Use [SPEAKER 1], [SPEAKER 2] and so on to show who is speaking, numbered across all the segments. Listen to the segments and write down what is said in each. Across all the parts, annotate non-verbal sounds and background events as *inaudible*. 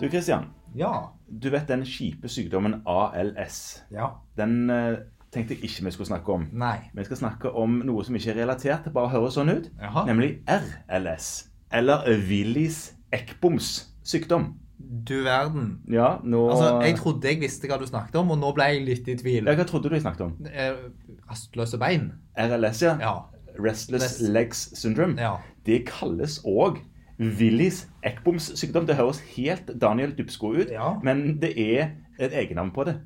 [SPEAKER 1] Du Christian,
[SPEAKER 2] Ja.
[SPEAKER 1] du vet den kjipe sykdommen ALS.
[SPEAKER 2] Ja.
[SPEAKER 1] Den eh, tenkte jeg ikke vi skulle snakke om.
[SPEAKER 2] Nei.
[SPEAKER 1] Vi skal snakke om noe som ikke er relatert til bare å høre sånn ut,
[SPEAKER 2] Jaha.
[SPEAKER 1] nemlig RLS. Eller Willis Eckboms sykdom.
[SPEAKER 2] Du verden.
[SPEAKER 1] Ja, nå
[SPEAKER 2] Altså, Jeg trodde jeg visste hva du snakket om, og nå ble jeg litt i tvil.
[SPEAKER 1] Ja, Hva trodde du jeg snakket om?
[SPEAKER 2] Eh, Rastløse bein?
[SPEAKER 1] RLS, ja.
[SPEAKER 2] Ja.
[SPEAKER 1] Restless
[SPEAKER 2] Rest-
[SPEAKER 1] Legs Syndrome.
[SPEAKER 2] Ja.
[SPEAKER 1] Det kalles òg Willis Eckboms sykdom. Det høres helt Daniel Dupsko ut,
[SPEAKER 2] Ja.
[SPEAKER 1] men det er et egennavn på det.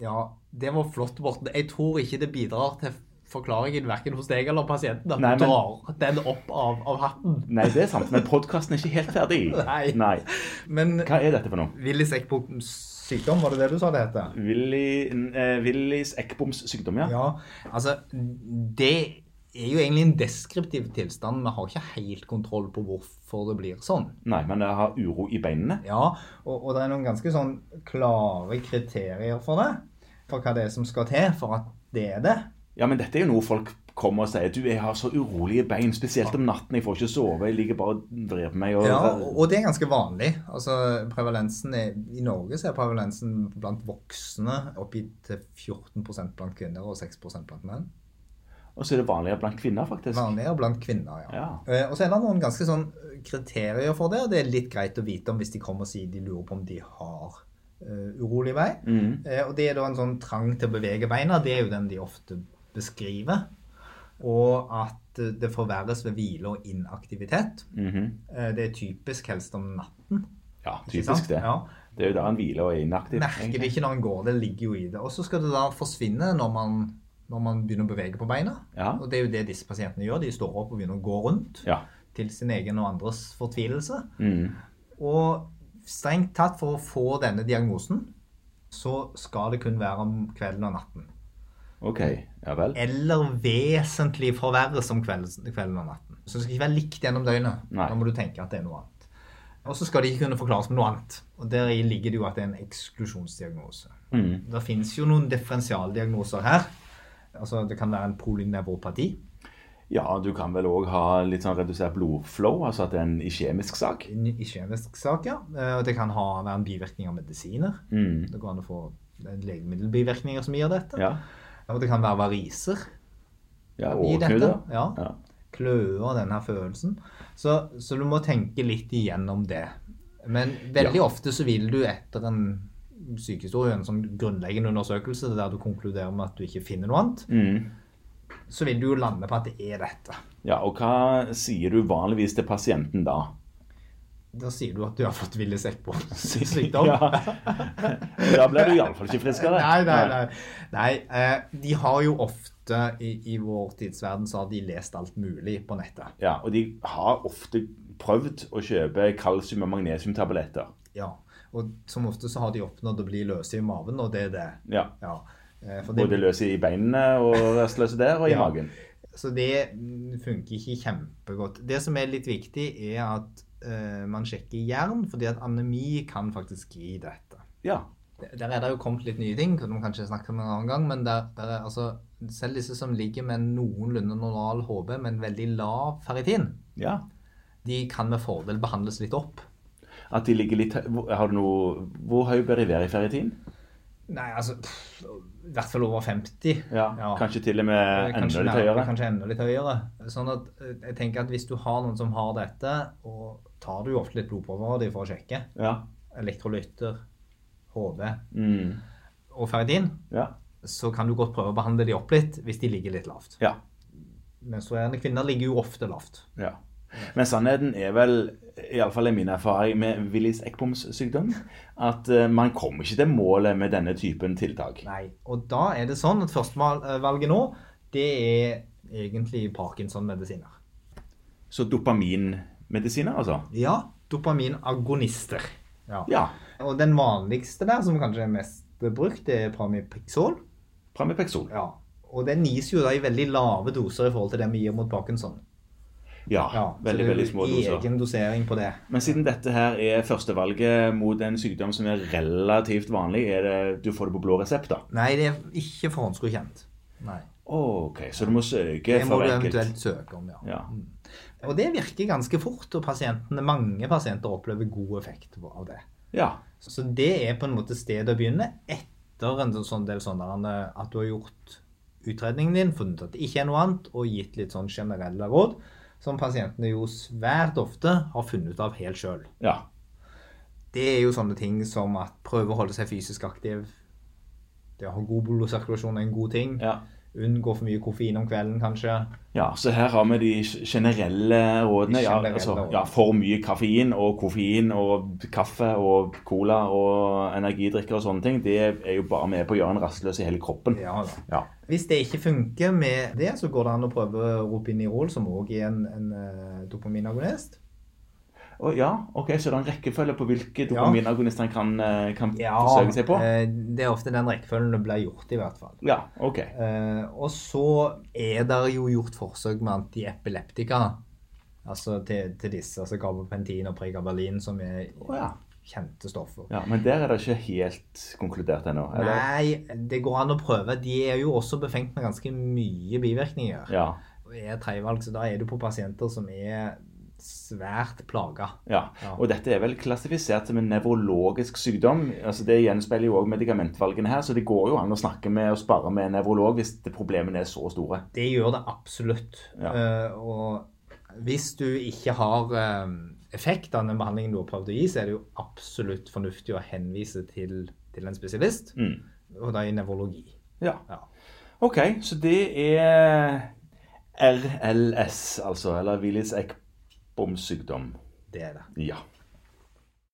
[SPEAKER 2] ja. Det var flott, Morten. Jeg tror ikke det bidrar til forklaringen verken hos deg eller pasienten at
[SPEAKER 1] Nei,
[SPEAKER 2] du
[SPEAKER 1] men-
[SPEAKER 2] drar den opp av, av hatten.
[SPEAKER 1] Nei, det er sant, men podkasten er ikke helt ferdig.
[SPEAKER 2] Nei. Men
[SPEAKER 1] Hva er dette for noe?
[SPEAKER 2] Willis Eckboms sykdom, var det det du sa det heter?
[SPEAKER 1] Willi, eh, Willis Eckboms sykdom, ja.
[SPEAKER 2] Ja, altså Det er jo egentlig en deskriptiv tilstand. Vi har ikke helt kontroll på hvorfor det blir sånn.
[SPEAKER 1] Nei, men jeg har uro i beinene.
[SPEAKER 2] Ja, og, og det er noen ganske sånn klare kriterier for det. For hva det er som skal til for at det er det.
[SPEAKER 1] Ja, men dette er jo noe folk kommer og sier. Du, jeg har så urolige bein, spesielt om natten. Jeg får ikke sove, jeg ligger bare og vrir på meg. Og,
[SPEAKER 2] Ja, og og det er ganske vanlig. Altså, prevalensen er, I Norge så er prevalensen blant voksne oppi til 14 blant kvinner og 6 blant menn.
[SPEAKER 1] og så er det vanligere blant kvinner, faktisk.
[SPEAKER 2] Vanligere blant kvinner, ja.
[SPEAKER 1] Ja.
[SPEAKER 2] Eh, Og så er det noen ganske sånn kriterier for det, og det er litt greit å vite om hvis de kommer og sier de lurer på om de har eh, urolig vei.
[SPEAKER 1] Mhm.
[SPEAKER 2] Eh, og det er da en sånn trang til å bevege beina, det er jo den de ofte beskriver. Og at eh, det forverres ved hvile og inaktivitet.
[SPEAKER 1] Mhm.
[SPEAKER 2] Eh, det er typisk helst om natten.
[SPEAKER 1] Ja,
[SPEAKER 2] ikke sant?
[SPEAKER 1] typisk det.
[SPEAKER 2] Ja.
[SPEAKER 1] Det er jo der en hviler og er inaktiv.
[SPEAKER 2] Merker det
[SPEAKER 1] egentlig.
[SPEAKER 2] ikke når en går, det ligger jo i det. Og så skal det da forsvinne når man, når man begynner å bevege på beina.
[SPEAKER 1] Ja.
[SPEAKER 2] Og det er jo det disse pasientene gjør. De står opp og begynner å gå rundt.
[SPEAKER 1] Ja.
[SPEAKER 2] Til sin egen og andres fortvilelse.
[SPEAKER 1] Mhm.
[SPEAKER 2] Og strengt tatt for å få denne diagnosen, så skal det kun være om kvelden og natten.
[SPEAKER 1] OK. Ja vel.
[SPEAKER 2] Eller vesentlig forverres om kvelden, kvelden og natten. Så det skal ikke være likt gjennom døgnet.
[SPEAKER 1] Nei.
[SPEAKER 2] Da må du tenke at det er noe annet. Og så skal det ikke kunne forklares med noe annet. Og deri ligger det jo at det er en eksklusjonsdiagnose.
[SPEAKER 1] Mhm.
[SPEAKER 2] Det fins jo noen differensialdiagnoser her. Altså Det kan være en polynevropati.
[SPEAKER 1] Ja, du kan vel òg ha litt sånn redusert blodflow, altså at det er en iskjemisk sak.
[SPEAKER 2] En iskjemisk sak, ja. Eh, Og det kan ha, være en bivirkning av medisiner.
[SPEAKER 1] Mhm.
[SPEAKER 2] Det går an å få legemiddelbivirkninger som gir dette.
[SPEAKER 1] Ja.
[SPEAKER 2] Og det kan være variser.
[SPEAKER 1] ja
[SPEAKER 2] i dette.
[SPEAKER 1] åreknuter.
[SPEAKER 2] Ja.
[SPEAKER 1] Ja.
[SPEAKER 2] Kløer denne følelsen. Så, så du må tenke litt igjennom det. Men veldig ofte så vil du etter en sykehistorie, en sånn grunnleggende undersøkelse der du konkluderer med at du ikke finner noe annet,
[SPEAKER 1] Mhm.
[SPEAKER 2] så vil du jo lande på at det er dette.
[SPEAKER 1] ja. Og hva sier du vanligvis til pasienten da?
[SPEAKER 2] Da sier du at du har fått ville
[SPEAKER 1] *laughs*
[SPEAKER 2] sekkbåndsykdom.
[SPEAKER 1] Ja. Da blir du iallfall ikke friskere.
[SPEAKER 2] Nei, nei, nei. nei eh, de har jo ofte i, i vår tidsverden så har de lest alt mulig på nettet.
[SPEAKER 1] Ja, og de har ofte prøvd å kjøpe kalsium- og magnesiumtabletter.
[SPEAKER 2] Ja. Og som ofte så har de oppnådd å bli løse i maven, og det er det.
[SPEAKER 1] Ja.
[SPEAKER 2] Ja. Eh, for det,
[SPEAKER 1] Både løse i beinene og restløse der, og i
[SPEAKER 2] Ja.
[SPEAKER 1] magen.
[SPEAKER 2] Så det mm, funker ikke kjempegodt. Det som er litt viktig, er at eh, man sjekker jern, fordi at anemi kan faktisk gi dette.
[SPEAKER 1] Ja.
[SPEAKER 2] Der er det jo kommet litt nye ting, som vi kanskje snakker om en annen gang. Men der, der er, altså, selv disse som ligger med noenlunde normal HB, men veldig lav ferritin,
[SPEAKER 1] ja.
[SPEAKER 2] de kan med fordel behandles litt opp.
[SPEAKER 1] At de ligger litt hø- hvor- Har du noe Hvor høy bør de være i ferritin?
[SPEAKER 2] Nei, altså pff, I hvert fall over 50.
[SPEAKER 1] Ja.
[SPEAKER 2] Ja. Eh,
[SPEAKER 1] Kanskje til og med Eh, enda
[SPEAKER 2] Kanskje
[SPEAKER 1] litt
[SPEAKER 2] nær-
[SPEAKER 1] høyere?
[SPEAKER 2] Kanskje enda litt høyere. Sånn at eh, jeg tenker at hvis du har noen som har dette, og tar du jo ofte litt blodprøver av dem for å sjekke
[SPEAKER 1] Ja.
[SPEAKER 2] elektrolytter, HV
[SPEAKER 1] Mm.
[SPEAKER 2] og ferritin,
[SPEAKER 1] ja.
[SPEAKER 2] så kan du godt prøve å behandle de opp litt hvis de ligger litt lavt.
[SPEAKER 1] Ja.
[SPEAKER 2] Menstruerende kvinner ligger jo ofte lavt.
[SPEAKER 1] Ja. Men sannheten er vel, iallfall er min erfaring med Willis Eckboms sykdom, at eh, man kommer ikke til målet med denne typen tiltak.
[SPEAKER 2] Nei, og da er det sånn at førstevalget nå, det er egentlig Parkinson-medisiner.
[SPEAKER 1] Så dopaminmedisiner, altså?
[SPEAKER 2] Ja, dopaminagonister. Ja.
[SPEAKER 1] Ja.
[SPEAKER 2] Og den vanligste der, som kanskje er mest brukt, det er Pramipixol.
[SPEAKER 1] Pramipexol.
[SPEAKER 2] Ja. Og den gis jo da i veldig lave doser i forhold til det vi gir mot Parkinson.
[SPEAKER 1] Ja,
[SPEAKER 2] Ja, så
[SPEAKER 1] Ah, veldig,
[SPEAKER 2] det er
[SPEAKER 1] veldig små doser.
[SPEAKER 2] Egen dosering på det.
[SPEAKER 1] Men siden dette her er førstevalget mot en sykdom som er relativt vanlig, er det du får det på blå resept, da?
[SPEAKER 2] Nei, det er ikke forhåndsgodkjent. Nei.
[SPEAKER 1] OK, så du må søke
[SPEAKER 2] Det må
[SPEAKER 1] for
[SPEAKER 2] du
[SPEAKER 1] enkelt.
[SPEAKER 2] eventuelt søke om, ja.
[SPEAKER 1] Ja.
[SPEAKER 2] Og det virker ganske fort, og pasientene, mange pasienter opplever god effekt av det.
[SPEAKER 1] Ja.
[SPEAKER 2] Så det er på en måte stedet å begynne etter en sånn del sånn der, eh, at du har gjort utredningen din, funnet at det ikke er noe annet, og gitt litt sånn generelle råd, som pasientene jo svært ofte har funnet ut av helt sjøl.
[SPEAKER 1] ja.
[SPEAKER 2] Det er jo sånne ting som at prøve å holde seg fysisk aktiv, det å ha god blodsirkulasjon er en god ting,
[SPEAKER 1] ja.
[SPEAKER 2] unngå for mye koffein om kvelden kanskje,
[SPEAKER 1] Ja, så her har vi de generelle rådene.
[SPEAKER 2] De
[SPEAKER 1] Ja,
[SPEAKER 2] generelle
[SPEAKER 1] altså,
[SPEAKER 2] rådene.
[SPEAKER 1] ja, for mye kaffein og koffein og kaffe og cola og energidrikker og sånne ting, det er jo bare med på å gjøre en rastløs i hele kroppen.
[SPEAKER 2] ja da.
[SPEAKER 1] Ja.
[SPEAKER 2] Hvis det ikke funker med det, så går det an å prøve Ropinirol, som også er en, en eh, dopaminagonist.
[SPEAKER 1] Og ja, ok, så det er en rekkefølge på hvilke
[SPEAKER 2] Ja.
[SPEAKER 1] dopaminagonister en kan, eh, kan forsøke seg på?
[SPEAKER 2] eh, det er ofte den rekkefølgen det blir gjort, i hvert fall.
[SPEAKER 1] Ja, ok.
[SPEAKER 2] Eh, og så er det jo gjort forsøk med antiepileptika. Altså til, til disse, altså gabapentin og pregabalin, som er
[SPEAKER 1] Å ja.
[SPEAKER 2] kjente stoffer.
[SPEAKER 1] ja. Men der er det ikke helt konkludert ennå, eller?
[SPEAKER 2] Nei, det går an å prøve. De er jo også befengt med ganske mye bivirkninger.
[SPEAKER 1] Ja.
[SPEAKER 2] Og Er tredjevalg, så da er du på pasienter som er svært plaga.
[SPEAKER 1] Ja,
[SPEAKER 2] Ja.
[SPEAKER 1] og dette er vel klassifisert som en nevrologisk sykdom. altså Det gjenspeiler jo òg medikamentvalgene her, så det går jo an å snakke med og spare med en nevrolog hvis det- problemene er så store.
[SPEAKER 2] Det gjør det absolutt.
[SPEAKER 1] Ja.
[SPEAKER 2] Eh, og hvis du ikke har eh, effekt av den behandlingen du har prøvd å gi, så er det jo absolutt fornuftig å henvise til, til en spesialist,
[SPEAKER 1] Mm.
[SPEAKER 2] og da i nevrologi.
[SPEAKER 1] Ja,
[SPEAKER 2] Ja.
[SPEAKER 1] OK, så det er RLS, altså, eller Willis Eckboms sykdom.
[SPEAKER 2] Det er det.
[SPEAKER 1] Ja.